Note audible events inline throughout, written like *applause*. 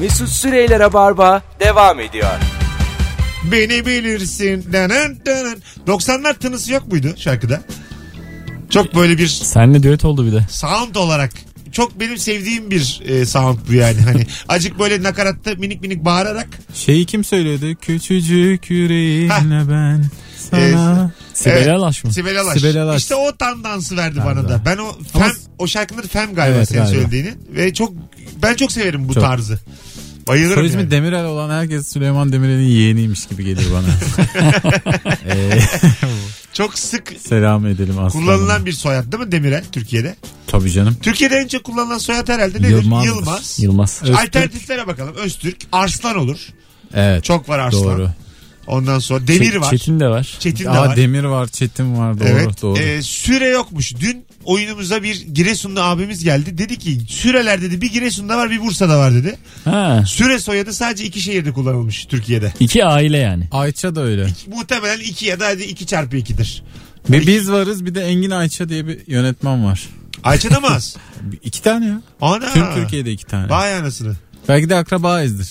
Mesut Süreyler'e barba devam ediyor. Beni bilirsin. Danan, danan. 90'lar tınısı yok muydu şarkıda? Çok böyle bir Senle düet oldu bir de. sound olarak çok benim sevdiğim bir e, sound bu yani. *laughs* Hani acık böyle nakaratta minik minik bağırarak Şeyi kim söylüyordu? Küçücük yüreğimle ben sana. Sibel Ee, Evet. Alaş mı? Sibel Alaş. Sibel Alaş. İşte o tam dansı verdi Tam bana da. da. Ben o Ama- fem, o şarkının fem galiba Evet, senin galiba. söylediğini. Ve çok ben çok severim bu Çok. tarzı. Bayılırım Soy ismi yani. Demirel olan herkes Süleyman Demirel'in yeğeniymiş gibi geliyor *laughs* bana. Ee, Çok sık selam edelim aslında. kullanılan bir soyad değil mi Demirel Türkiye'de? Tabii canım. Türkiye'de en çok kullanılan soyad herhalde nedir? Yılmaz'dır. Yılmaz. Yılmaz. Öztürk. Alternatiflere bakalım. Öztürk, Arslan olur. Evet. Çok var Arslan. doğru. Ondan sonra Demir Çe- var. Çetin, Çetin de var. de Aa, var. Demir var, Çetin var. Doğru, evet. doğru. Ee, süre yokmuş. Dün oyunumuza bir Giresunlu abimiz geldi. Dedi ki süreler dedi bir Giresun'da var bir Bursa'da var dedi. Ha. Süre soyadı sadece iki şehirde kullanılmış Türkiye'de. İki aile yani. Ayça da öyle. Muhtemelen iki ya da hadi iki çarpı ikidir. Bir biz varız bir de Engin Ayça diye bir yönetmen var. Ayça da mı *laughs* az? Bir- İki tane ya. Ana. Tüm Türkiye'de iki tane. Vay anasını. Belki de akrabayızdır.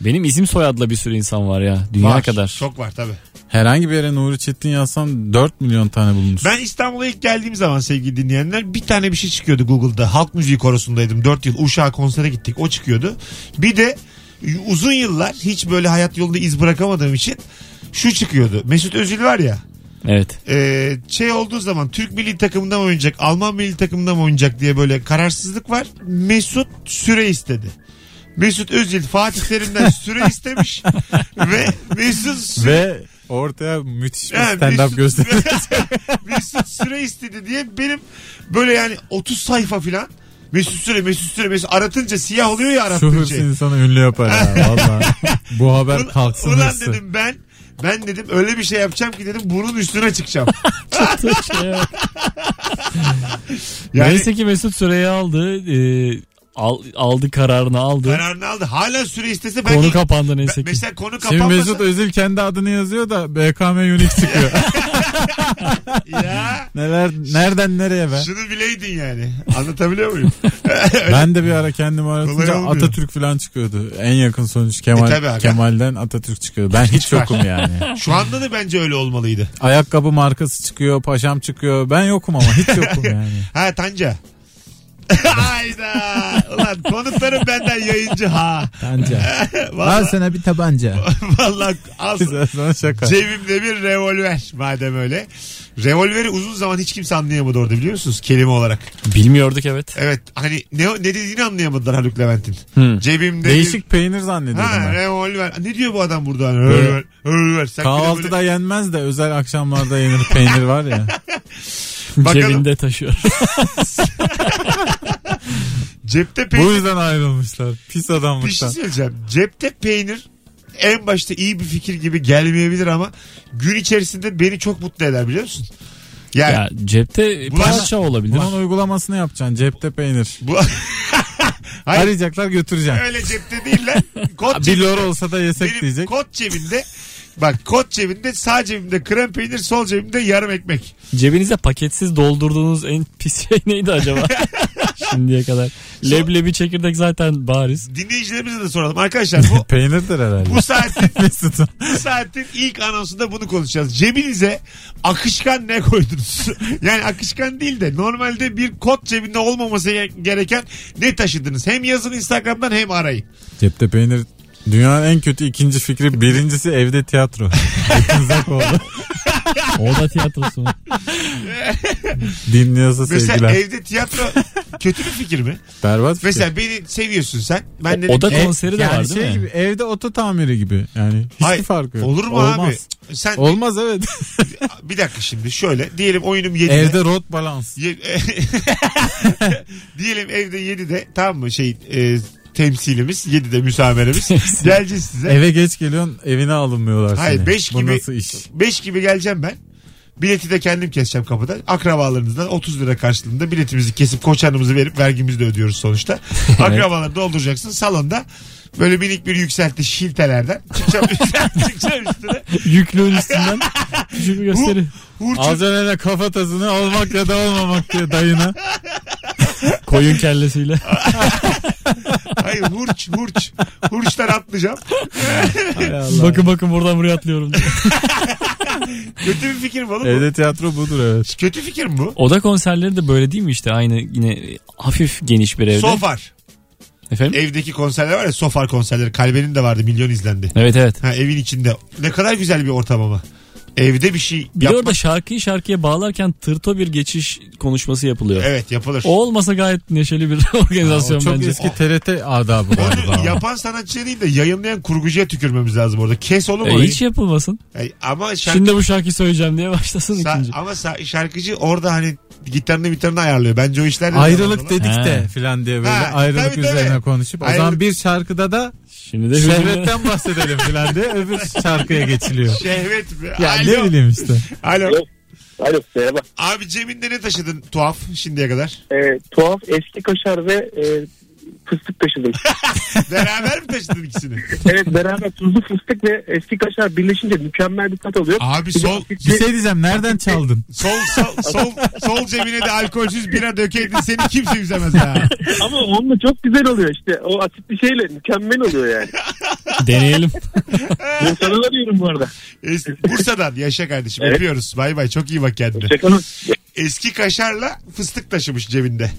Benim isim soyadla bir sürü insan var ya. Dünya Var. kadar. Çok var tabii. Herhangi bir yere Nuri Çetin yazsan 4 milyon tane bulunur. Ben İstanbul'a ilk geldiğim zaman sevgili dinleyenler bir tane bir şey çıkıyordu Google'da. Halk müziği korosundaydım. 4 yıl Uşak'a konsere gittik. O çıkıyordu. Bir de uzun yıllar hiç böyle hayat yolunda iz bırakamadığım için şu çıkıyordu. Mesut Özil var ya. Evet. e, şey olduğu zaman Türk milli takımından oynayacak, Alman milli takımından oynayacak diye böyle kararsızlık var. Mesut süre istedi. Mesut Özil Fatih Terim'den süre istemiş ve Mesut süre Ve ortaya müthiş bir Ha, stand-up Mesut- gösterisi. *laughs* Mesut Süre istedi diye benim böyle yani 30 sayfa filan Mesut Süre Mesut Süre Mesut aratınca siyah oluyor ya *laughs* Şu aratınca. hırs insanı ünlü yapar *laughs* ya valla. Bu haber şey. Ulan- kalksın Ulan hırsı. dedim ben ben dedim öyle bir şey yapacağım ki dedim bunun üstüne *laughs* çıkacağım. yani şey Neyse ki Mesut Süreyi aldı. Ee, al- aldı kararını aldı. kararını aldı. Hala süre istese ben Konu kapandı neyse ki. mesela konu Şimdi kapanmasa Mesut Özil kendi adını yazıyor da BKM Unique *laughs* çıkıyor. ya Neler, nereden nereye be? şunu bileydin yani. Anlatabiliyor muyum? Ben de bir ara kendimi aratınca Kolay olmuyor. Atatürk falan çıkıyordu. En yakın sonuç Kemal E tabii abi. Kemal'den Atatürk çıkıyor. Ben hiç Çıkar. yokum yani. Şu anda da bence öyle olmalıydı. Ayakkabı markası çıkıyor, paşam çıkıyor. Ben yokum ama hiç *laughs* yokum yani. Ha Tanca. *laughs* Hayda. Ulan konuklarım benden yayıncı ha. Tanca. Al Vallahi, sana bir tabanca. vallahi az. Güzel sana şaka. Cebimde bir revolver madem öyle. Revolveri uzun zaman hiç kimse anlayamadı orada biliyor musunuz? Kelime olarak. Bilmiyorduk evet. Evet hani ne, ne dediğini anlayamadılar Haluk Levent'in. Hı. Cebimde bir... Değişik peynir zannediyordum Ha ben. revolver. Ne diyor bu adam burada? Hani, Böyle- Revolver. Revolver. Sen bir de Kahvaltıda böyle- yenmez de özel akşamlarda yenir peynir *laughs* var ya. *laughs* Bakalım. Cebinde taşıyor. Cepte Bu peynir. yüzden ayrılmışlar. Pis Bir şey adammışlar. söyleyeceğim. Cepte peynir en başta iyi bir fikir gibi gelmeyebilir ama gün içerisinde beni çok mutlu eder biliyor musun? Yani ya cepte Bunlar- parça olabilir. Bunun uygulamasını yapacaksın. Cepte peynir. bu *laughs* Hayır. Arayacaklar götüreceksin. öyle cepte değil lan. Kot Bir lor cebinde. olsa da yesek Benim diyecek. kot cebimde bak kot cebimde sağ cebimde krem peynir sol cebimde yarım ekmek. Cebinize paketsiz doldurduğunuz en pis şey *laughs* neydi acaba? *laughs* Şimdiye kadar. Leblebi çekirdek zaten bariz. Dinleyicilerimize de soralım arkadaşlar bu *laughs* Peynirdir herhalde. bu saatin *laughs* Mesut'un. bu saatin ilk anonsunda bunu konuşacağız. Cebinize akışkan ne *laughs* koydunuz? yani akışkan değil de normalde bir kot cebinde olmaması ge- gereken ne taşıdınız? Hem yazın Instagram'dan hem arayın. Cepte peynir dünyanın en kötü ikinci fikri. Birincisi *laughs* evde tiyatro. Hepinize oldu. O da tiyatrosu. *laughs* Dinliyorsa Mesela sevgiler. evde tiyatro *laughs* kötü bir fikir mi? Berbat fikir. Mesela beni seviyorsun sen. E, Ben dedim o da ki, E, konseri de yani var değil şey mi? gibi, evde oto tamiri gibi. Yani hiçbir "Hayır, farkı yok. Olur mu Olmaz. abi? Sen Olmaz *laughs* evet. bir dakika şimdi şöyle diyelim oyunum 7'de. evde rot balans. Ye- *laughs* Diyelim evde 7'de tamam mı şey e, temsilimiz 7'de müsameremiz. Geleceğiz size. Eve geç geliyorsun evine alınmıyorlar Hayır, seni. beş Bu gibi- nasıl iş? 5 gibi geleceğim ben. Bileti de kendim keseceğim kapıda. Akrabalarımızdan 30 lira karşılığında biletimizi kesip koçanımızı verip vergimizi de ödüyoruz *laughs* sonuçta. Akrabaları dolduracaksın salonda. Böyle minik bir yükselti şiltelerden. Çıkacağım, *laughs* çıkacağım üstüne. Yüklüğün üstünden küçük bir gösteri. Hurçun Az önce de kafatasını almak ya da almamak diye dayına. *laughs* Koyun kellesiyle. Hayır hurç hurç. Hurçtan atlayacağım. Bakın bakın buradan buraya atlıyorum. Kötü bir fikir mi oğlum? bu? Evde tiyatro budur evet. Kötü fikir mi bu? Oda konserleri de böyle değil mi işte aynı yine hafif geniş bir evde. Sofar. Efendim? Evdeki konserler var ya sofar konserleri. Kalbenin de vardı milyon izlendi. Evet evet. Ha, evin içinde. Ne kadar güzel bir ortam ama. Evde bir şey Bir de yapmak. orada şarkıyı şarkıya bağlarken tırto bir geçiş konuşması yapılıyor. Evet yapılır. O olmasa gayet neşeli bir *laughs* organizasyon Çok bence. eski TRT adabı galiba. Onu ama. yapan sanatçıya değil de yayınlayan kurgucuya tükürmemiz lazım orada. Kes oğlum E, orayı. hiç yapılmasın. Ay, ama şarkı, Şimdi bu şarkıyı söyleyeceğim diye başlasın sa- ikinci. ama sa- şarkıcı orada hani gitarını mitarını ayarlıyor. Bence o işler de- Ayrılık dedik de He. filan diye böyle Ha, ayrılık tabii, tabii. üzerine konuşup o Ayrılık. zaman bir şarkıda da Şimdi de hücumda- şehvetten bahsedelim filan diye öbür şarkıya geçiliyor. Şehvet mi? Ya ne Şey, Alo. bileyim işte. Alo. Alo. Alo merhaba. Abi cebinde ne taşıdın tuhaf şimdiye kadar? Ee, tuhaf eski kaşar ve e, fıstık *laughs* taşıdım. Beraber mi taşıdın ikisini? evet beraber tuzlu fıstık ve eski kaşar birleşince mükemmel bir tat oluyor. Abi sol Bir şey diyeceğim nereden çaldın? sol sol sol, sol cebine de alkolsüz bira dökeydin seni kimse üzemez ha. Ama onunla çok güzel oluyor işte. O asitli şeyle mükemmel oluyor yani. *laughs* Deneyelim. Bursa'dan arıyorum bu arada. Es- Bursa'dan yaşa kardeşim Evet. öpüyoruz. Bay bay çok iyi bak kendine. Hoşçakalın. Eski kaşarla fıstık taşımış cebinde.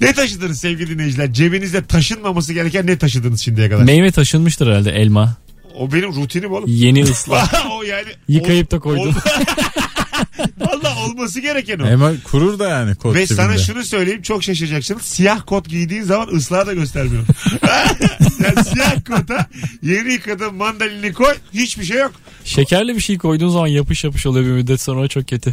Ne taşıdınız sevgili dinleyiciler? Cebinizde taşınmaması gereken ne taşıdınız şimdiye kadar? Meyve taşınmıştır herhalde elma. O benim rutinim oğlum. Yeni ıslah. *laughs* o yani Yıkayıp da koydum. *laughs* Valla olması gereken o. Ama kurur da yani kot Ve sana cebinde. şunu söyleyeyim çok şaşıracaksınız. Siyah kot giydiğin zaman ıslağı da *laughs* göstermiyor. yani siyah kota yeni yıkadığın mandalini koy hiçbir şey yok. *laughs* Şekerli bir şey koyduğun zaman yapış yapış oluyor bir müddet sonra o çok kötü.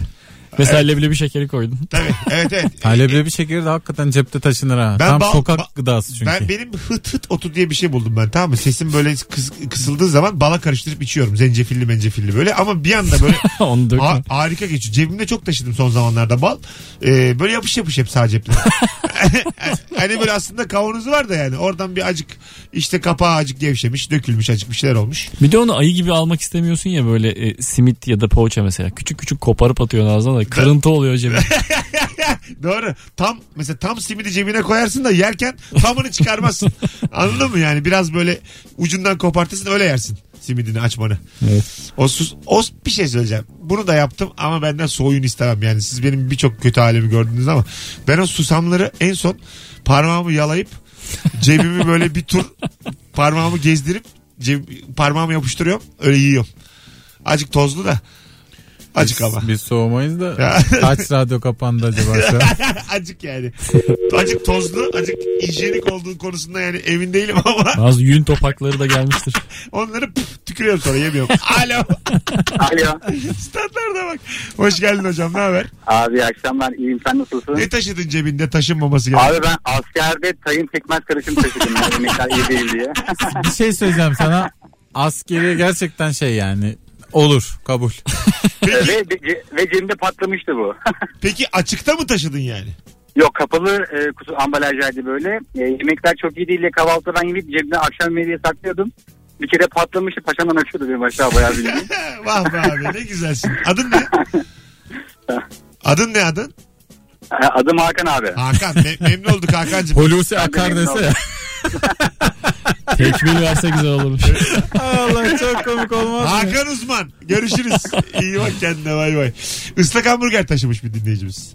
Mesela leblebi şekeri koydun. Tabii evet *laughs* evet. Haleblebi bir şekeri de hakikaten cepte taşınır ha. Ben Tam bal- sokak ba- gıdası çünkü. Ben benim hıt hıt otu diye bir şey buldum ben tamam mı? Sesim böyle kıs- kısıldığı zaman bala karıştırıp içiyorum. Zencefilli mencefilli böyle ama bir anda *laughs* böyle *laughs* Onu dökme. ha- harika geçiyor. Cebimde çok taşıdım son zamanlarda bal. Ee, böyle yapış yapış hep sağ *laughs* cepte. hani böyle aslında kavanozu var da yani oradan bir acık işte kapağı acık gevşemiş, dökülmüş acık bir şeyler olmuş. Bir de onu ayı gibi almak istemiyorsun ya böyle e, simit ya da poğaça mesela. Küçük küçük koparıp atıyorsun ağzına da kırıntı oluyor cebine. *laughs* Doğru. Tam mesela tam simidi cebine koyarsın da yerken tamını çıkarmazsın. Anladın mı yani? Biraz böyle ucundan kopartırsın öyle yersin simidini açmanı. Evet. O, sus, o bir şey söyleyeceğim. Bunu da yaptım ama benden soğuyun istemem. Yani siz benim birçok kötü halimi gördünüz ama ben o susamları en son parmağımı yalayıp cebimi böyle bir tur parmağımı gezdirip ceb- parmağımı yapıştırıyorum. Öyle yiyorum. Acık tozlu da. Acık ama. Biz soğumayız Ya. da kaç radyo kapandı acaba şu an? *laughs* acık yani. Acık tozlu, acık hijyenik olduğu konusunda yani emin değilim ama Bazı yün topakları *laughs* da gelmiştir. onları püf, tükürüyorum sonra yemiyorum. Alo. Alo. Standlarda bak. Hoş geldin hocam ne haber? Abi iyi akşamlar iyiyim sen nasılsın? Ne taşıdın cebinde taşınmaması gereken? Abi ben askerde tayın pekmez karışım taşıdım. Yani Yemekler iyi değil diye. Bir şey söyleyeceğim sana. Askeri gerçekten şey yani olur kabul. Peki, ve, ve, ve cebimde patlamıştı bu. peki açıkta mı taşıdın yani? *laughs* Yok kapalı e, kutu ambalajlardı böyle. E, yemekler çok iyi değil diye kahvaltıda ben yemeyip cebimde akşam yemeği diye saklıyordum. Bir kere patlamıştı paşamdan akıyordu benim aşağı bayağı *laughs* bildiğin. Vah be abi ne güzelsin. Adın ne? Adın ne adın? E, Adım Hakan abi. Hakan. Me- memnun olduk Hakan'cığım. Hulusi akar dese. ya. Tekmil verse güzel olurmuş. Ay Allah çok komik olmaz. mı? Hakan Uzman. Görüşürüz. İyi bak kendine bay bay. Islak hamburger taşımış bir dinleyicimiz.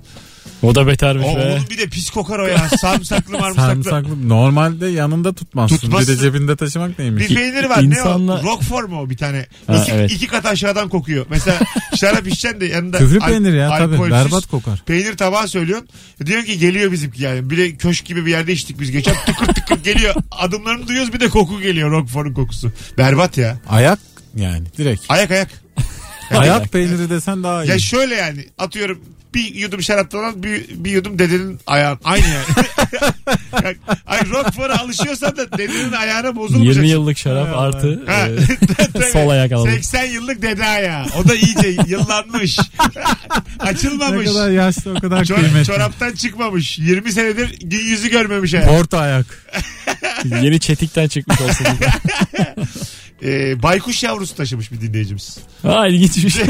O da betermiş O, be. onun bir de pis kokar o ya. Sarımsaklı marmsaklı. Sarımsaklı normalde yanında tutmazsın. Tutmazsın. Bir de cebinde taşımak neymiş? Bir şey- peynir var ne İnsanla- o? Roquefort mu o bir tane? Ha, iki, evet. iki kat aşağıdan kokuyor. *laughs* Mesela şarap içeceksin de yanında Küflü al- peynir ya tabii alkolsüz berbat kokar. Peynir tabağı söylüyorsun. Diyorsun ki geliyor bizimki yani. Bir de köşk gibi bir yerde içtik biz geçen. Tıkır tıkır *laughs* geliyor. Adımlarını duyuyoruz bir de koku geliyor. Roquefort'un kokusu. Berbat ya. Ayak yani direkt. Ayak ayak. Ayak peyniri desen daha iyi. Ya şöyle yani atıyorum bir yudum şaraptan al bir, bir yudum dedenin ayağın. Aynı yani. *laughs* *laughs* Yani, Ay Roquefort'a alışıyorsan da dedenin ayağına 20 bozulmayacaksın. yıllık şarap artı Ha, Ee, e, *laughs* tabii. sol ayak alalım. 80 yıllık dede ayağı. O da iyice yıllanmış. *laughs* ne Açılmamış. kadar yaşlı o kadar Çor- kıymetli. çoraptan çıkmamış. 20 senedir gün yüzü görmemiş ayak. Orta ayak. yeni çetikten çıkmış olsun. e, baykuş yavrusu taşımış bir dinleyicimiz. *laughs* Ha ilginç bir şey.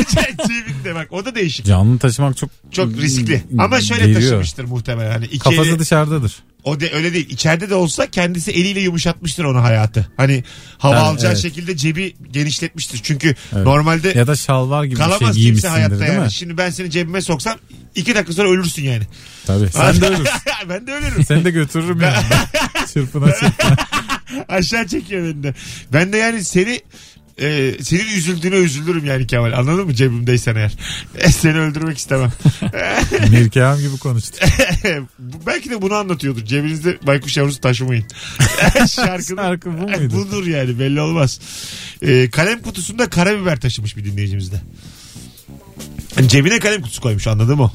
Cebinde bak o da değişik. Canlı taşımak çok Çok riskli. Ama şöyle Geliyor. taşımıştır muhtemelen. Hani iki Kafası eli- dışarıdadır. o de, öyle değil. İçeride de olsa kendisi eliyle yumuşatmıştır onu hayatı. Hani hava Ha, alacağı evet. şekilde cebi genişletmiştir. Çünkü normalde Ya da şalvar gibi bir şey kalamaz kimse giymişsindir hayatta değil yani. mi? Şimdi ben seni cebime soksam iki dakika sonra ölürsün yani. *laughs* Tabii. Sen de ölürsün. ben de ölürüm. Seni de *laughs* götürürüm yani. çırpına çırpına. Aşağı çekiyor beni de. Ben de yani seni e, senin üzüldüğüne üzülürüm yani Kemal. Anladın mı cebimdeysen eğer. *laughs* seni öldürmek istemem. *laughs* Mirkeam gibi konuştu. Belki de bunu anlatıyordur. Cebinizde baykuş yavrusu taşımayın. *laughs* Şarkının *laughs* Şarkı bu muydu? Budur yani belli olmaz. Ee, kalem kutusunda karabiber taşımış bir dinleyicimiz de. Hani cebine kalem kutusu koymuş anladın mı?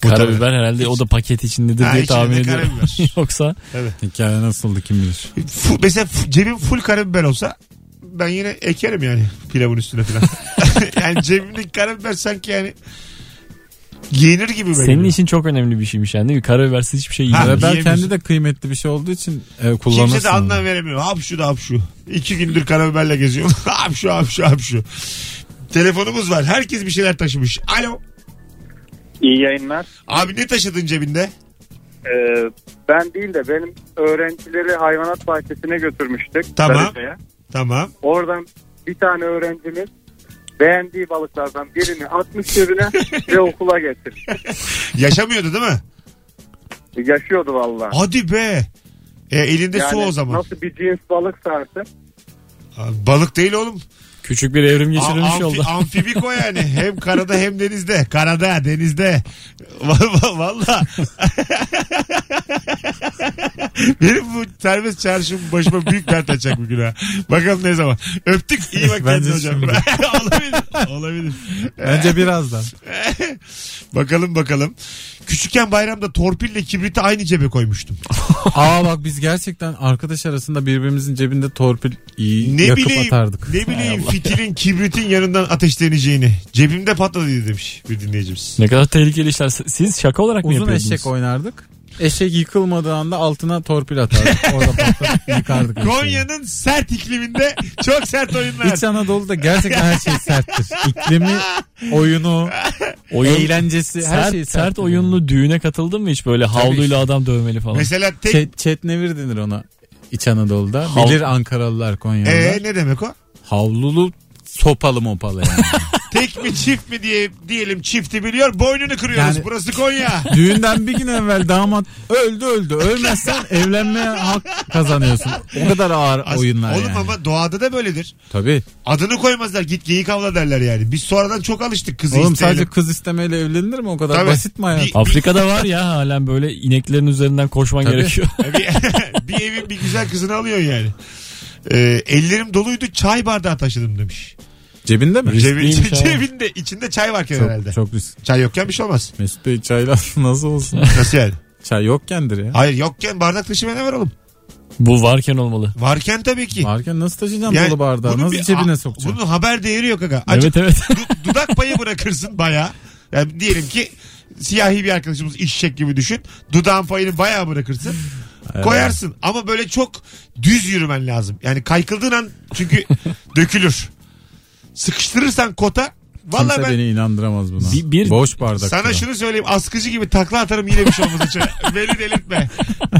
Karabiber herhalde o da paket içindedir Ha, diye içinde tahmin ediyorum. karabiber. *laughs* Yoksa Hikaye nasıldı kim bilir. Fu- mesela f- cebim full karabiber olsa ben yine ekerim yani pilavın üstüne falan. *laughs* yani cebimdeki karabiber sanki yani giyinir gibi benim. senin için çok önemli bir şeymiş yani değil mi? Karabibersiz hiçbir şey yiyemez. Karabiber yiyemiyorsun. kendi de kıymetli bir şey olduğu için e, kullanırsın. Kimse de anlam veremiyor. Hap şu da hap şu. İki gündür karabiberle geziyorum. *laughs* hap şu hap şu hap şu. Telefonumuz var. Herkes bir şeyler taşımış. Alo. İyi yayınlar. Abi ne taşıdın cebinde? Ee, ben değil de benim öğrencileri hayvanat bahçesine götürmüştük. Tamam. Darıca'ya. Tamam. Oradan bir tane öğrencimiz beğendiği balıklardan birini atmış *laughs* cebine ve okula getirmiş. Yaşamıyordu değil mi? Yaşıyordu valla. Hadi be. E, elinde su o zaman. Nasıl bir cins balık sarsı. Abi, Balık değil oğlum. Küçük bir evrim A- geçirilmiş amfi- *laughs* oldu. Amfibik o yani. Hem karada hem denizde. Karada, denizde. *laughs* Valla. valla. *laughs* Benim bu serbest çarşım başıma büyük dert açacak bugün ha. Bakalım ne zaman. Öptük. İyi bak kendine Bence hocam. şimdi. *laughs* olabilir. Olabilir. Bence birazdan. bakalım bakalım. Küçükken bayramda torpille kibriti aynı cebe koymuştum. Aa bak biz gerçekten arkadaş arasında birbirimizin cebinde torpil iyi Ne yakıp bileyim, atardık. ne bileyim fitilin kibritin yanından ateşleneceğini. Cebimde patladı demiş bir dinleyicimiz. Ne kadar tehlikeli işler. Siz şaka olarak mı Uzun yapıyordunuz? eşek oynardık. Eşek yıkılmadığı anda altına torpil atardık. *laughs* Orada patlatıp yıkardık. eşeği. Konya'nın sert ikliminde çok sert oyunlar. İç Anadolu'da gerçekten her şey *laughs* serttir. İklimi, oyunu, Oyun- eğlencesi her sert, şey sert oyunlu düğüne katıldın mı hiç böyle havluyla adam dövmeli falan? Mesela tek Çet, çetnevir denir ona İç Anadolu'da. Hav- Bilir Ankaralılar Konya'da. Ee, ne demek o? Havlulu sopalı mopalı yani. *laughs* Tek mi çift mi diye diyelim çifti biliyor boynunu kırıyoruz. Yani- Burası Konya. Düğünden bir gün evvel damat öldü öldü. Ölmezsen evlenmeye hak kazanıyorsun. O kadar ağır As- *laughs* oyunlar Oğlum yani. ama doğada da böyledir. Tabii. Adını koymazlar git geyik avla derler yani. Biz sonradan çok alıştık kızı Oğlum isteyelim. sadece kız istemeyle evlenilir mi? O kadar Tabii. basit mi hayat? Bir- Afrika'da var ya halen böyle ineklerin üzerinden koşman Tabii. gerekiyor. *laughs* bir, bir evin bir güzel kızını alıyorsun yani. Ee, ellerim doluydu çay bardağı taşıdım demiş. Cebinde mi? Cebin, Riskliymiş ama. cebinde içinde çay varken herhalde. şey. Çok, çok risk. Çay yokken bir şey olmaz. Mesut Bey çayla *laughs* nasıl olsun? Nasıl yani? Çay yokkendir ya. Hayır yokken bardak taşımaya ne var oğlum? Bu varken olmalı. Varken tabii ki. Varken nasıl taşıyacağım Yani dolu bardağı? bunun Nasıl bir- cebine a- sokacaksın? Bunun haber değeri yok aga. Acık Evet evet. *laughs* du- dudak payı bırakırsın baya. Yani diyelim ki siyahi bir arkadaşımız işçek gibi düşün. Dudağın payını bayağı bırakırsın. Koyarsın ama böyle çok düz yürümen lazım. Yani kaykıldığın an *laughs* çünkü dökülür. Sıkıştırırsan kota Valla Kimse ben beni inandıramaz buna. Bir- bir- Boş bardak. sana kadar. şunu söyleyeyim askıcı gibi takla atarım yine bir şey olmaz. *laughs* Hiç- Beni delirtme.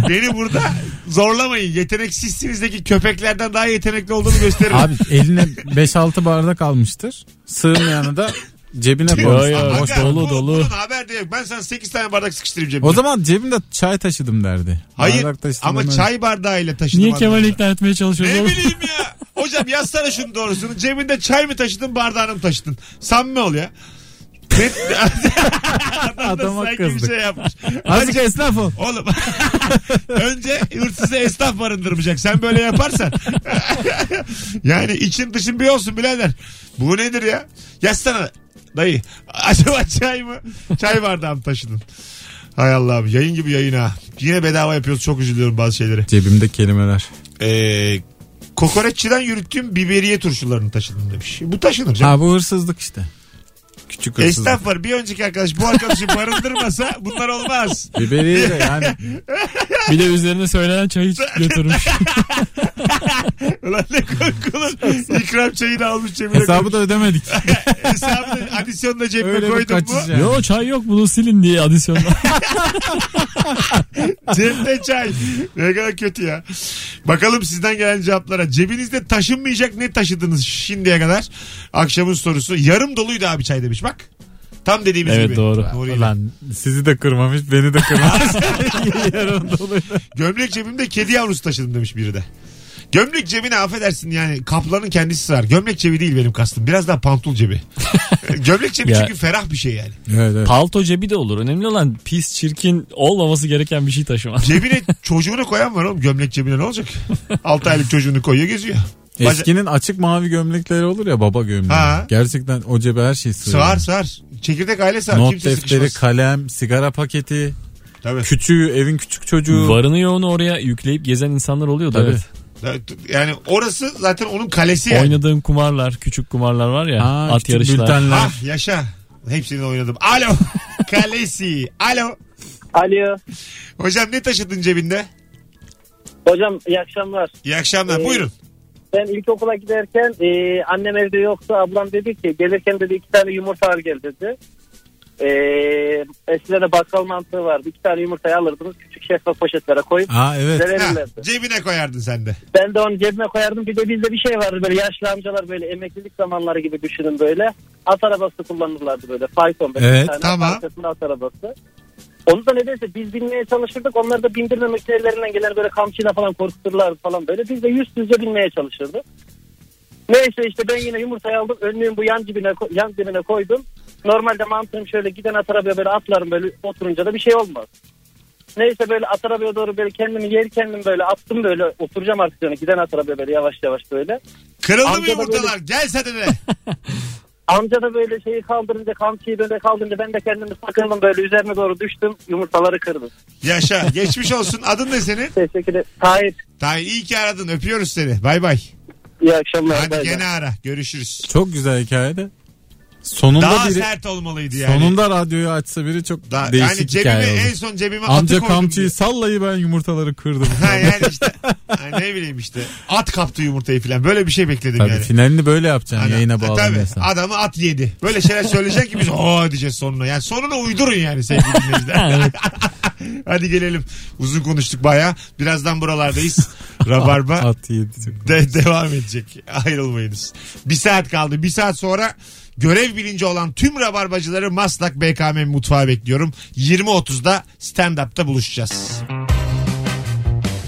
Beni burada zorlamayın. Yeteneksizsinizdeki köpeklerden daha yetenekli olduğunu gösteririm. Abi eline 5-6 bardak almıştır. Sığmayanı da cebine Yo, koy. yo. Aga, boş, dolu, bu- dolu. Bunun haber de yok. Ben sana 8 tane bardak sıkıştırayım cebime. O zaman cebimde çay taşıdım derdi. Hayır Bardak taşıdım ama demez. çay bardağıyla taşıdım. Niye anlamında. Kemal'i ikna etmeye çalışıyorsun Ne oğlum? bileyim ya. Hocam yazsana şunu doğrusunu. Cebinde çay mı taşıdın bardağını mı taşıdın? Samimi ol *laughs* ya. Ne- Adama Sanki bir kızdık. Şey yapmış. Azıcık esnaf *laughs* ol. Oğlum *laughs* önce hırsızı esnaf barındırmayacak. Sen böyle yaparsan. *laughs* yani için dışın bir olsun birader. Bu nedir ya? Yazsana dayı. Acaba çay mı? Çay bardağı mı taşıdın? Hay Allah'ım yayın gibi yayın ha. Yine bedava yapıyoruz çok üzülüyorum bazı şeylere. Cebimde kelimeler. Ee, kokoreççiden yürüttüğüm biberiye turşularını taşıdım demiş. Bu taşınır canım. Ha bu hırsızlık işte. Küçük hırsızlık. Esnaf var. Bir önceki arkadaş bu arkadaşı barındırmasa bunlar olmaz. *laughs* Biberiye de yani Bir de üzerine söylenen çayı götürmüş. Ulan ne korkulur. İkram çayını almış cebine Hesabı da ödemedik. koymuş. Hesabı da adisyonu da cebine Öyle bir koydum mu? kaçış yani. Yo çay yok bunu silin *laughs* diye adisyonla. Cebde çay. Ne kadar kötü ya. Bakalım sizden gelen cevaplara. Cebinizde taşınmayacak ne taşıdınız şimdiye kadar? Akşamın sorusu. Yarım doluydu abi çay demiş bak. Tam dediğimiz Evet, gibi. doğru. Nuri'yle. Ulan sizi de kırmamış beni de kırmamış. Yarın dolayı. Gömlek cebimde kedi yavrusu taşıdım demiş biri de. Gömlek cebine affedersin yani kaplanın kendisi sığar. Gömlek cebi değil benim kastım. Biraz daha pantul *laughs* cebi. Gömlek cebi Ya. çünkü ferah bir şey yani. Evet, evet. *laughs* Palto cebi de olur. Önemli olan pis, çirkin, olmaması gereken bir şey taşıma. Cebine çocuğunu koyan var oğlum. Gömlek cebine ne olacak? 6 aylık çocuğunu koyuyor geziyor. Baca- Eskinin açık mavi gömlekleri olur ya baba gömleği. Ha. Gerçekten o cebe her şey sığıyor. Sığar sığar. Çekirdek aile sığar. Not Kimse defteri, sıkışmaz. kalem, sigara paketi, Tabii. küçüğü, evin küçük çocuğu. Varını yoğunu oraya yükleyip gezen insanlar oluyordu. Tabii. Evet. Yani orası zaten onun kalesi yani. Oynadığım kumarlar, küçük kumarlar var ya. Ha, at küçük yarışlar. bültenler. Ah yaşa. Hepsini oynadım. *laughs* Alo. kalesi. Alo. Alo. Hocam ne taşıdın cebinde? Hocam iyi akşamlar. İyi akşamlar. Ee, Buyurun. Ben ilkokula giderken e, annem evde yoktu. Ablam dedi ki gelirken dedi iki tane yumurta al gel dedi. E, eskiden de bakkal mantığı vardı. İki tane yumurtayı alırdınız. Küçük şeffaf poşetlere koyup Aa evet. size Ha, verirlerdi. cebine koyardın sen de. Ben de onu cebime koyardım. Bir de bizde bir şey vardı böyle yaşlı amcalar böyle emeklilik zamanları gibi düşünün böyle. At arabası kullanırlardı böyle. Fayton böyle. Evet, bir tane tamam. arkasında at arabası. Onu da nedense biz binmeye çalışırdık. Onlar da bindirmemek için ellerinden gelen böyle kamçıyla falan korkuturlardı falan böyle. Biz de yüzsüzce binmeye çalışırdık. Neyse işte ben yine yumurtayı aldım. Önlüğüm bu yan dibine, ko- yan dibine koydum. Normalde mantığım şöyle giden at arabaya böyle atlarım böyle oturunca da bir şey olmaz. Neyse böyle at arabaya doğru böyle kendimi yer kendim böyle attım böyle oturacağım artık yani giden at arabaya böyle yavaş yavaş böyle. Kırıldı mı Amca da yumurtalar? Gel sen de. Amca da böyle şeyi kaldırınca kamçıyı böyle kaldırınca ben de kendimi sakındım böyle üzerine doğru düştüm yumurtaları kırdım. Yaşa. Geçmiş olsun. Adın ne senin? Teşekkür ederim. Tahir Tay iyi ki aradın. Öpüyoruz seni. Bay bay. iyi akşamlar. Hadi bay bay. gene ara. Görüşürüz. Çok güzel hikaye de. Sonunda Daha biri sert olmalıydı yani. sonunda radyoyu açsa biri çok Daha, değişik yani cebime hikaye en olur. son cebime Amca atı koydum. kamçıyı sallayı ben *laughs* yumurtaları kırdım. diye. Ha yani işte. Ha, ne bileyim işte. At kaptı yumurtayı falan. Böyle bir şey bekledim Tabii yani. finalini böyle yapacaksın Adam- yayına Tabii, bağlanıyorsan. adamı at yedi. Böyle şeyler söyleyecek ki biz o diyeceğiz sonuna. Yani sonuna uydurun yani sevgili *laughs* dinleyiciler. *laughs* Hadi gelelim. Uzun konuştuk baya. Birazdan buralardayız. Rabarba. At yedi. De- devam edecek. Ayrılmayınız. Bir saat kaldı. Bir saat sonra görev bilinci olan tüm rabarbacıları Maslak BKM mutfağı bekliyorum. 20.30'da stand-up'ta buluşacağız.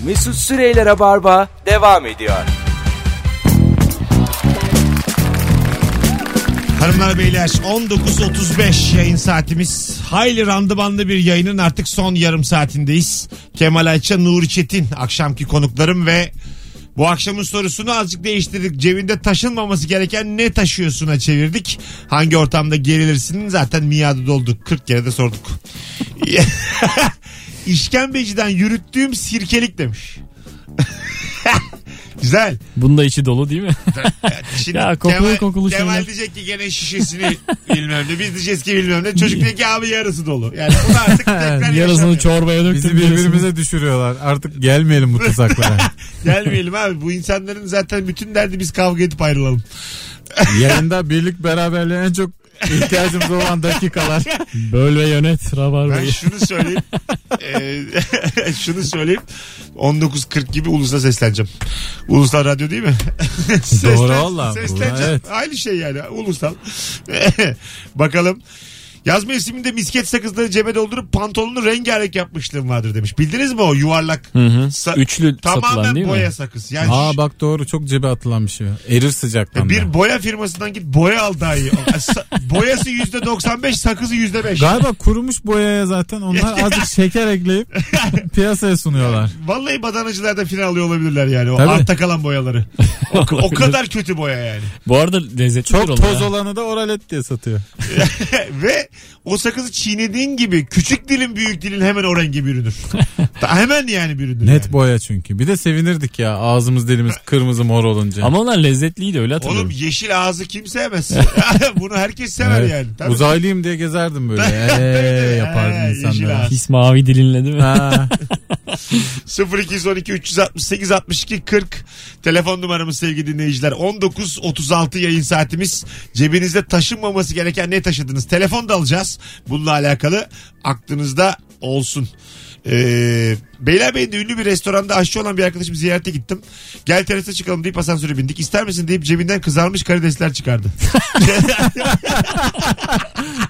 Mesut Süreyler'e barba devam ediyor. Hanımlar beyler 19.35 yayın saatimiz. Hayli randımanlı bir yayının artık son yarım saatindeyiz. Kemal Ayça, Nuri Çetin akşamki konuklarım ve bu akşamın sorusunu azıcık değiştirdik. Cebinde taşınmaması gereken ne taşıyorsuna çevirdik. Hangi ortamda gerilirsin zaten miadı doldu. 40 kere de sorduk. *laughs* İşkembeciden yürüttüğüm sirkelik demiş. *laughs* Güzel. Bunda içi dolu değil mi? Şimdi Ya kokulu Kemal, kokulu Kemal şeyler. diyecek ki gene şişesini *laughs* bilmem ne. Biz diyeceğiz ki bilmem ne. Çocuk diyor ki abi yarısı dolu. Yani bunu *laughs* artık tekrar Yarısını yaşamıyor. çorbaya döktüm. Bizi yarısını- birbirimize düşürüyorlar. Artık gelmeyelim bu tuzaklara. *laughs* Gelmeyelim abi. Bu insanların zaten bütün derdi biz kavga edip ayrılalım. Yayında birlik beraberliğe en çok ihtiyacımız *laughs* olan dakikalar. Böl *laughs* ve yönet Ben rabarbayı. şunu *laughs* söyleyeyim. Ee, *laughs* şunu söyleyeyim. 19.40 gibi ulusa sesleneceğim. Ulusal radyo değil mi? *laughs* Seslen- Doğru valla. Sesleneceğim. Evet. Aynı şey yani. Ulusal. *laughs* Bakalım. Yaz mevsiminde misket sakızları cebe doldurup pantolonunu rengarenk yapmışlığım vardır demiş. Bildiniz mi o yuvarlak? Hı hı. Sa- *laughs* Üçlü Tamamen satılan değil boya *laughs* mi? sakız. Yani Aa şu- E, bak doğru çok cebe atılan bir şey. Erir sıcaktan. da. bir boya firmasından git boya al daha *laughs* iyi. Sa- Boyası %95 sakızı %5. Galiba kurumuş boyaya *laughs* zaten onlar azıcık şeker ekleyip piyasaya sunuyorlar. Vallahi badanacılarda final alıyor olabilirler yani. O Tabii. altta kalan boyaları. O, o kadar kötü boya yani. *laughs* Bu arada lezzetli Çok olur toz ya. olanı da oralet diye satıyor. Ve o sakızı çiğnediğin gibi küçük dilin büyük dilin hemen o rengi *laughs* bürünür. Ta- hemen yani bürünür. Net yani. boya çünkü. Bir de sevinirdik ya ağzımız dilimiz kırmızı mor olunca. Ama onlar lezzetliydi öyle Oğlum hatırlıyorum. yeşil ağzı kim sevmez? *laughs* Bunu herkes sever Evet. yani. Tabii. Uzaylıyım diye gezerdim *laughs* böyle. Tabii, Eee tabii. yapardın Ee, yeşil insanlara. ağız. Pis mavi dilinle değil mi? Ha, 0212 368 62 40 telefon numaramız sevgili dinleyiciler 19.36 yayın saatimiz cebinizde taşınmaması gereken ne taşıdınız telefon da alacağız bununla alakalı aklınızda olsun ee, Beylerbeyi'nde ünlü bir restoranda aşçı olan bir arkadaşım ziyarete gittim. Gel terasa çıkalım deyip asansöre bindik. İster misin deyip cebinden kızarmış karidesler çıkardı. *laughs*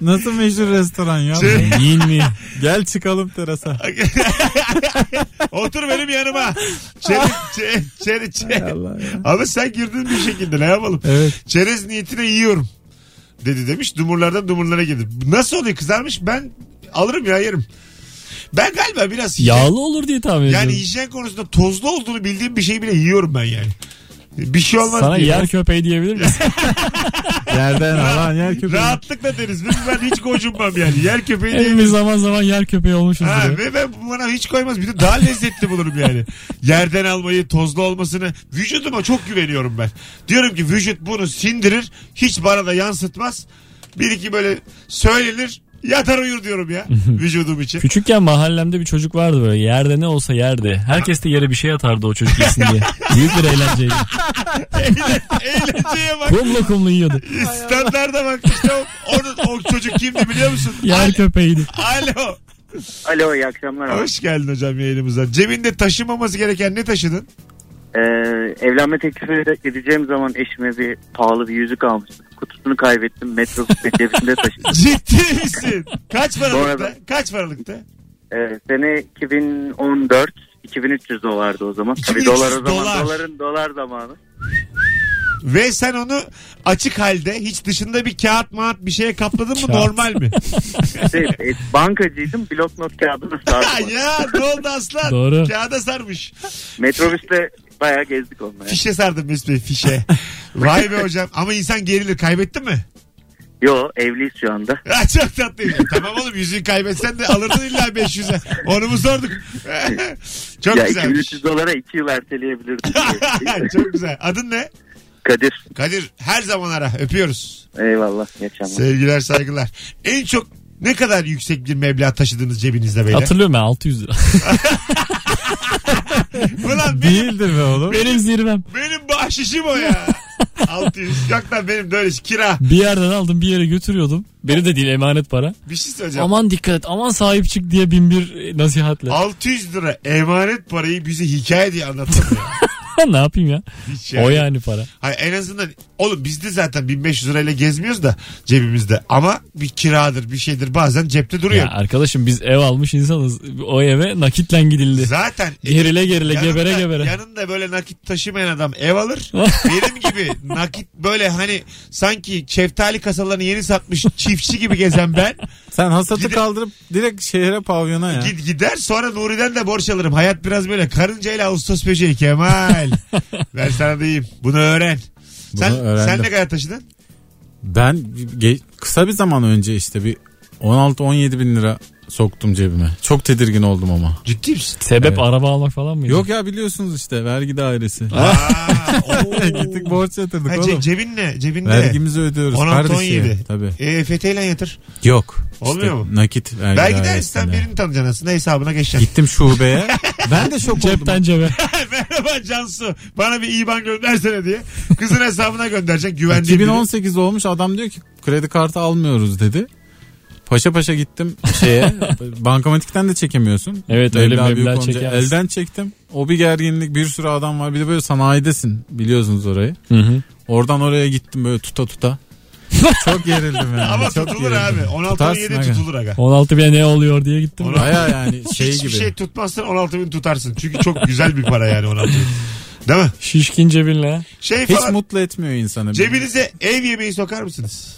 Nasıl meşhur restoran ya? Şey- Yiyin mi? Gel çıkalım terasa. Otur benim yanıma. Çeri, çeri, çeri, çeri. Ama sen girdin bir şekilde ne yapalım? Evet. Çerez niyetine yiyorum. Dedi demiş dumurlardan dumurlara gelir. Nasıl oluyor kızarmış ben alırım ya yerim. Ben galiba biraz Yağlı olur diye tahmin ediyorum. yani hijyen konusunda tozlu olduğunu bildiğim bir şeyi bile yiyorum ben yani. Bir şey olmaz Sana diye. yer köpeği diyebilir misin? *laughs* Yerden alan yer köpeği. Rahatlıkla deriz. Biz ben hiç gocunmam yani. Yer köpeği diye. Hepimiz zaman zaman yer köpeği olmuşuz. Ha, ve ben bana hiç koymaz. Bir de daha lezzetli bulurum yani. Yerden almayı, tozlu olmasını. Vücuduma çok güveniyorum ben. Diyorum ki vücut bunu sindirir. Hiç bana da yansıtmaz. Bir iki böyle söylenir. Yatar uyur diyorum ya vücudum için. Küçükken mahallemde bir çocuk vardı böyle. Yerde ne olsa yerdi. Herkes de yere bir şey atardı o çocuk yesin *laughs* diye. Büyük bir eğlenceydi. Eğlenceye bak. Kumla kumla yiyordu. Standlarda bak. İşte o, o, o çocuk kimdi biliyor musun? *laughs* Yer köpeğiydi. Alo. Alo iyi akşamlar. abi. Hoş geldin hocam yayınımıza. Cebinde taşımaması gereken ne taşıdın? Ee, evlenme teklifi de- edeceğim zaman eşime bir pahalı bir yüzük almıştım. Kutusunu kaybettim. Metrobüste *laughs* cebimde taşıdım. Ciddi misin? Kaç Bu paralıkta? arada- Kaç paralıkta? Ee, sene 2014 2300 dolardı o zaman. Tabii 2300 dolar o zaman. dolar. Doların dolar zamanı. Ve sen onu açık halde hiç dışında bir kağıt mağat bir şeye kapladın mı Kağıt. normal *laughs* mi? Şey, e, bankacıydım. Bloknot kağıdını *laughs* Ha sardım. ya ne oldu aslan? Doğru. Kağıda sarmış. Metrobüste bayağı gezdik onunla. ya. Fişe sardım Mesut Bey fişe. Vay be hocam ama insan gerilir kaybettin mi? Yo evliyiz şu anda. Ha, çok tatlıymış. tamam oğlum yüzüğü kaybetsen de alırdın illa 500'e. Onu mu sorduk? *laughs* çok ya *laughs* güzelmiş. 2300 dolara 2 yıl erteleyebilirdim. *laughs* çok güzel. Adın ne? Kadir Kadir her zaman ara öpüyoruz. eyvallah. iyi akşamlar. Sevgiler saygılar. En çok ne kadar yüksek bir meblağ taşıdığınız cebinizde böyle? Hatırlıyorum ben 600 lira. Ulan benim, *laughs* Değildir be oğlum. Benim zirvem. benim bahşişim o *laughs* ya. 600. Yok lan benim böyle iş- kira. Bir yerden aldım bir yere götürüyordum. Beni de değil emanet para. Bir şey söyleyeceğim. Aman dikkat et aman sahip çık diye bin bir nasihatle. 600 lira emanet parayı bize hikaye diye anlatın. *laughs* ne yapayım ya? Hiç O yani. yani para. Hayır, en azından oğlum biz de zaten 1500 lirayla gezmiyoruz da cebimizde. Ama bir kiradır bir şeydir bazen cepte duruyor. Ya arkadaşım biz ev almış insanız. O eve nakitle gidildi. Zaten Gerile gerile Yanında- gebere gebere. Yanında böyle nakit taşımayan adam ev *laughs* alır. Benim gibi nakit böyle hani sanki şeftali kasalarını yeni satmış çiftçi gibi gezen ben Sen hasatı Gide- kaldırıp direkt şehre pavyona ya. git gider sonra Nuri'den de borç alırım. Hayat biraz böyle karıncayla Ağustos böceği *laughs* Kemal. ben sana diyeyim bunu öğren. Bunu Sen, sen öğrendim. ne kadar taşıdın? Ben ge- kısa bir zaman önce işte bir 16-17 bin lira soktum cebime. Çok tedirgin oldum ama. Ciddi misin? Sebep Evet. araba almak falan mıydı? Yok ya biliyorsunuz işte vergi dairesi. Aa, oo. *laughs* Gittik borç yatırdık Ha, ce- oğlum. cebin ne? Cebinde. Vergimizi ödüyoruz 16-17. kardeşi. Tabii. E, EFT ile yatır. Yok. Olmuyor mu? Nakit vergi Belki de dairesinde. sen birini tanıyacaksın aslında hesabına geçeceksin. Gittim şubeye. ben de şok Cepten oldum. *laughs* cebe. *laughs* Merhaba Cansu bana bir IBAN göndersene diye. Kızın hesabına gönderecek güvendiğim biri. 2018 olmuş adam diyor ki kredi kartı almıyoruz dedi. Paşa paşa gittim *laughs* şeye bankamatikten de çekemiyorsun. Evet, öyle Meblağ meblağ büyük olunca çekemezsin. Elden çektim. O bir gerginlik bir sürü adam var bir de böyle sanayidesin biliyorsunuz orayı. Oradan oraya gittim böyle *laughs* tuta tuta. çok gerildim yani. Ama çok tutulur abi. gerildim. 16.7 Tutarsın aga. tutulur aga. 16 bine ne oluyor diye gittim. Ona- Baya yani şey Hiçbir gibi. şey tutmazsan 16 bin tutarsın. Çünkü çok güzel bir para yani 16 bin. Değil mi? Şişkin cebinle. Şey Hiç falan mutlu etmiyor insanı. cebinize ev yemeği sokar mısınız?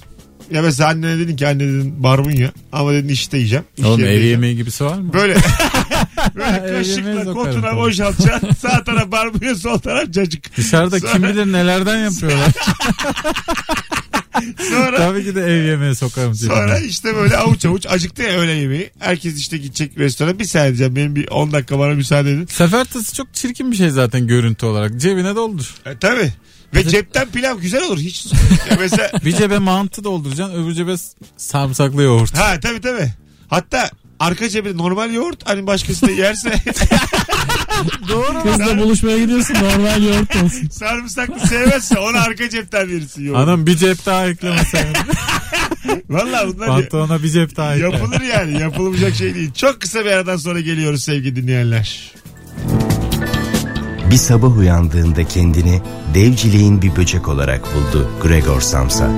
Ya mesela annene dedin ki anne dedin barbunya ama dedin işte yiyeceğim. İş Oğlum yerinde ev yiyeceğim. yemeği gibisi var mı? *laughs* Böyle, böyle Ev yemeği kaşıkla sokarım kotuna tabii. boşaltacaksın. Sağ taraf barbunya sol taraf cacık. Dışarıda kim Sonra- bilir nelerden *laughs* yapıyorlar. Sonra Tabii ki de ev yemeği sokarım. cebime. Sonra işte böyle avuç avuç acıktı ya öğle yemeği. Herkes işte gidecek restorana. Bir saniye diyeceğim benim bir 10 dakika bana müsaade edin. Sefer tası çok çirkin bir şey zaten görüntü olarak. Cebine doldur. E, tabii. Ve cepten pilav güzel olur. Hiç ya *laughs* mesela Bir cebe mantı dolduracaksın öbür cebe s- sarımsaklı yoğurt. *laughs* ha tabii tabii. Hatta arka cebinde normal yoğurt hani başkası da yerse Doğru. Kızla buluşmaya gidiyorsun normal yoğurt olsun. Sarımsaklı sevmezse ona arka cepten verirsin. Yok. Anam bir cep daha eklemesen. *laughs* Valla bunlar ya- Pantolona bir cep daha ekle. yapılır yani. Yapılmayacak şey değil. Çok kısa bir aradan sonra geliyoruz sevgili dinleyenler. Bir sabah uyandığında kendini devciliğin bir böcek olarak buldu Gregor Samsa.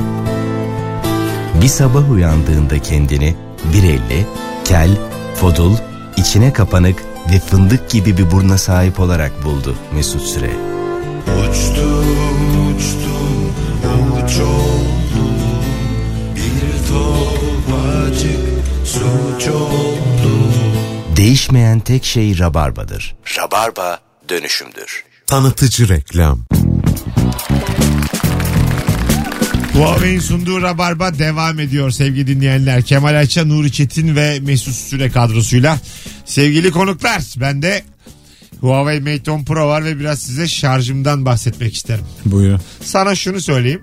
Bir sabah uyandığında kendini bir elli, kel, fodul, içine kapanık ve fındık gibi bir burna sahip olarak buldu Mesut Süre. Değişmeyen tek şey rabarbadır. Rabarba dönüşümdür. Tanıtıcı reklam. Doğa Bey'in sunduğu Rabarba devam ediyor sevgili dinleyenler. Kemal Ayça, Nuri Çetin ve Mesut Süre kadrosuyla. Sevgili konuklar ben de Huawei Mate 10 Pro var ve biraz size şarjımdan bahsetmek isterim. Buyurun. Sana şunu söyleyeyim.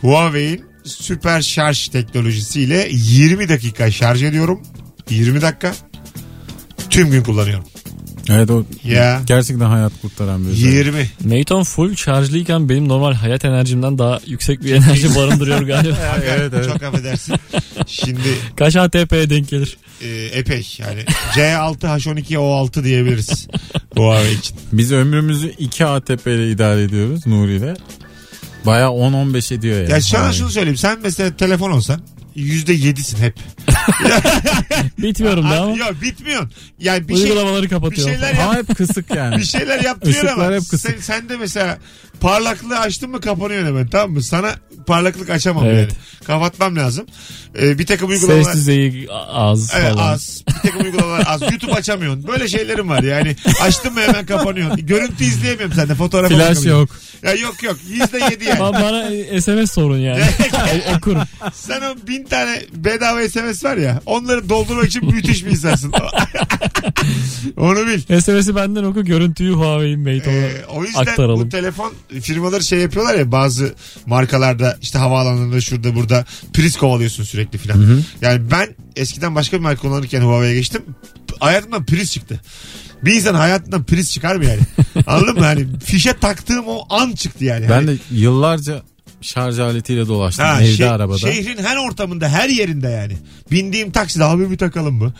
Huawei'in süper şarj teknolojisiyle 20 dakika şarj ediyorum. 20 dakika tüm gün kullanıyorum. Evet o Ya. gerçekten hayat kurtaran bir şey. özellik. 20. Meyton full şarjlıyken benim normal hayat enerjimden daha yüksek bir enerji barındırıyor galiba. *laughs* Evet, evet. Çok affedersin. Şimdi *laughs* Kaç ATP'ye denk gelir? e, epey yani C6 H12 O6 diyebiliriz Huawei için. Biz ömrümüzü 2 ATP ile idare ediyoruz Nuri ile. Baya 10-15 ediyor yani. Ya sana Yani. şunu söyleyeyim. Sen mesela telefon olsan yüzde yedisin hep. Bitmiyorum da ama Abi, yok bitmiyorsun. Yani bir şey uygulamaları bir kapatıyorum. şeyler Ha hep kısık *laughs* yani. bir şey. şeyler yaptırıyor Işıklar ama hep kısık. sen, sen de mesela parlaklığı açtın mı kapanıyor hemen tamam mı? Sana parlaklık açamam Evet. yani. Kapatmam lazım. Ee, bir takım uygulamalar... Ses düzeyi az Evet, falan. az. Bir takım uygulamalar *laughs* az. YouTube açamıyorsun. Böyle şeylerim var yani. Açtım mı hemen kapanıyor. Görüntü izleyemiyorum sende. Fotoğraf Flash yok. Ya yok yok. Yüzde yedi yani. Ba- bana SMS sorun yani. E, O- Okurum. Sen o bin tane bedava SMS var ya onları doldurmak için müthiş bir *laughs* insansın. Onu bil. SMS'i benden oku görüntüyü Huawei'in Meyton'a Ee, o yüzden bu aktaralım. telefon firmaları şey yapıyorlar ya bazı markalarda işte havaalanlarında şurada burada priz kovalıyorsun sürekli filan. Yani ben eskiden başka bir marka kullanırken Huawei'ye geçtim. P- Hayatımdan priz çıktı. Bir insan hayatından priz çıkar *laughs* mı yani? Anladın mı? Hani fişe taktığım o an çıktı yani. Ben Hani- de yıllarca şarj aletiyle dolaştım Ha, şey- evde şe- arabada. Şehrin her ortamında her yerinde yani. Bindiğim takside abi bir takalım mı?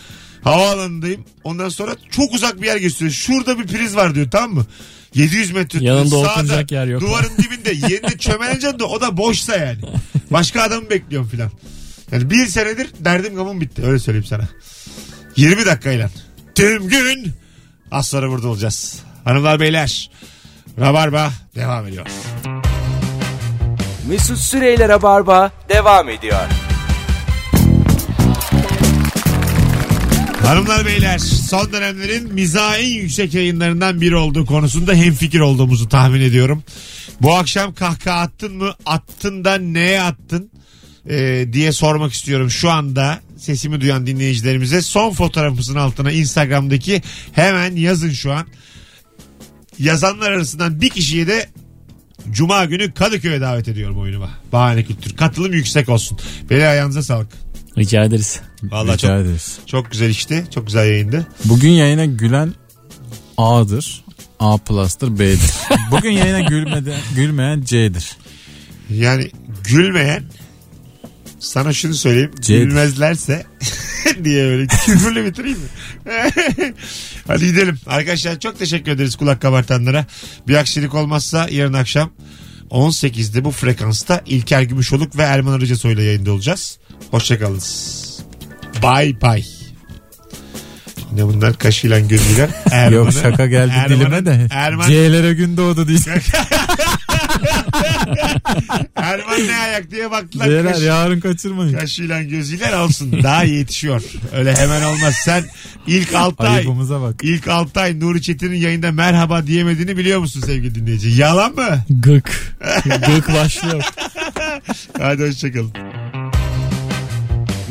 Havaalanındayım. Ondan sonra çok uzak bir yer gösteriyor. Şurada bir priz var diyor tamam mı? 700 metre. Yanında sağda, oturacak yer yok. Duvarın dibinde. *laughs* Yerine çömeleceksin de o da boşsa yani. Başka adamı bekliyorum filan. Yani bir senedir derdim gamım bitti. Öyle söyleyeyim sana. 20 dakikayla. Tüm gün. Az sonra burada olacağız. Hanımlar beyler. Rabarba devam ediyor. Mesut Süreyle Rabarba devam ediyor. Hanımlar beyler son dönemlerin mizahı en yüksek yayınlarından biri olduğu konusunda hemfikir olduğumuzu tahmin ediyorum. Bu akşam kahkaha attın mı attın da neye attın Ee, diye sormak istiyorum şu anda sesimi duyan dinleyicilerimize. Son fotoğrafımızın altına instagramdaki hemen yazın şu an. Yazanlar arasından bir kişiye de Cuma günü Kadıköy'e davet ediyorum oyunuma. Bahane Kültür. Katılım yüksek olsun. Beni ayağınıza sağlık. Rica ederiz. Vallahi Rica çok, ederiz. çok güzel işti. Çok güzel yayındı. Bugün yayına gülen A'dır. A *laughs* plus'tır B'dir. Bugün yayına gülmeden, gülmeyen C'dir. Yani gülmeyen sana şunu söyleyeyim. Cevdet. Gülmezlerse *laughs* diye böyle küfürle bitireyim mi? *laughs* Hadi gidelim. Arkadaşlar çok teşekkür ederiz kulak kabartanlara. Bir aksilik olmazsa yarın akşam 18'de bu frekansta İlker Gümüşoluk ve Erman Arıcasoy ile yayında olacağız. Hoşçakalınız. Bye bye. Ne bunlar kaşıyla gözüyle. Erman'ı- *laughs* Yok şaka geldi Erman'ı- dilime de. Erman, C'lere gün doğdu diyecek. Erman ne ayak diye baktılar. C'ler Kaşı- yarın kaçırmayın. Kaşıyla gözüyle alsın. Daha iyi yetişiyor. Öyle hemen olmaz. Sen ilk 6 ay Ayıbımıza bak. ilk 6 ay Nuri Çetin'in yayında merhaba diyemediğini biliyor musun sevgili dinleyici? Yalan mı? Gık. Gık başlıyor. Hadi hoşçakalın.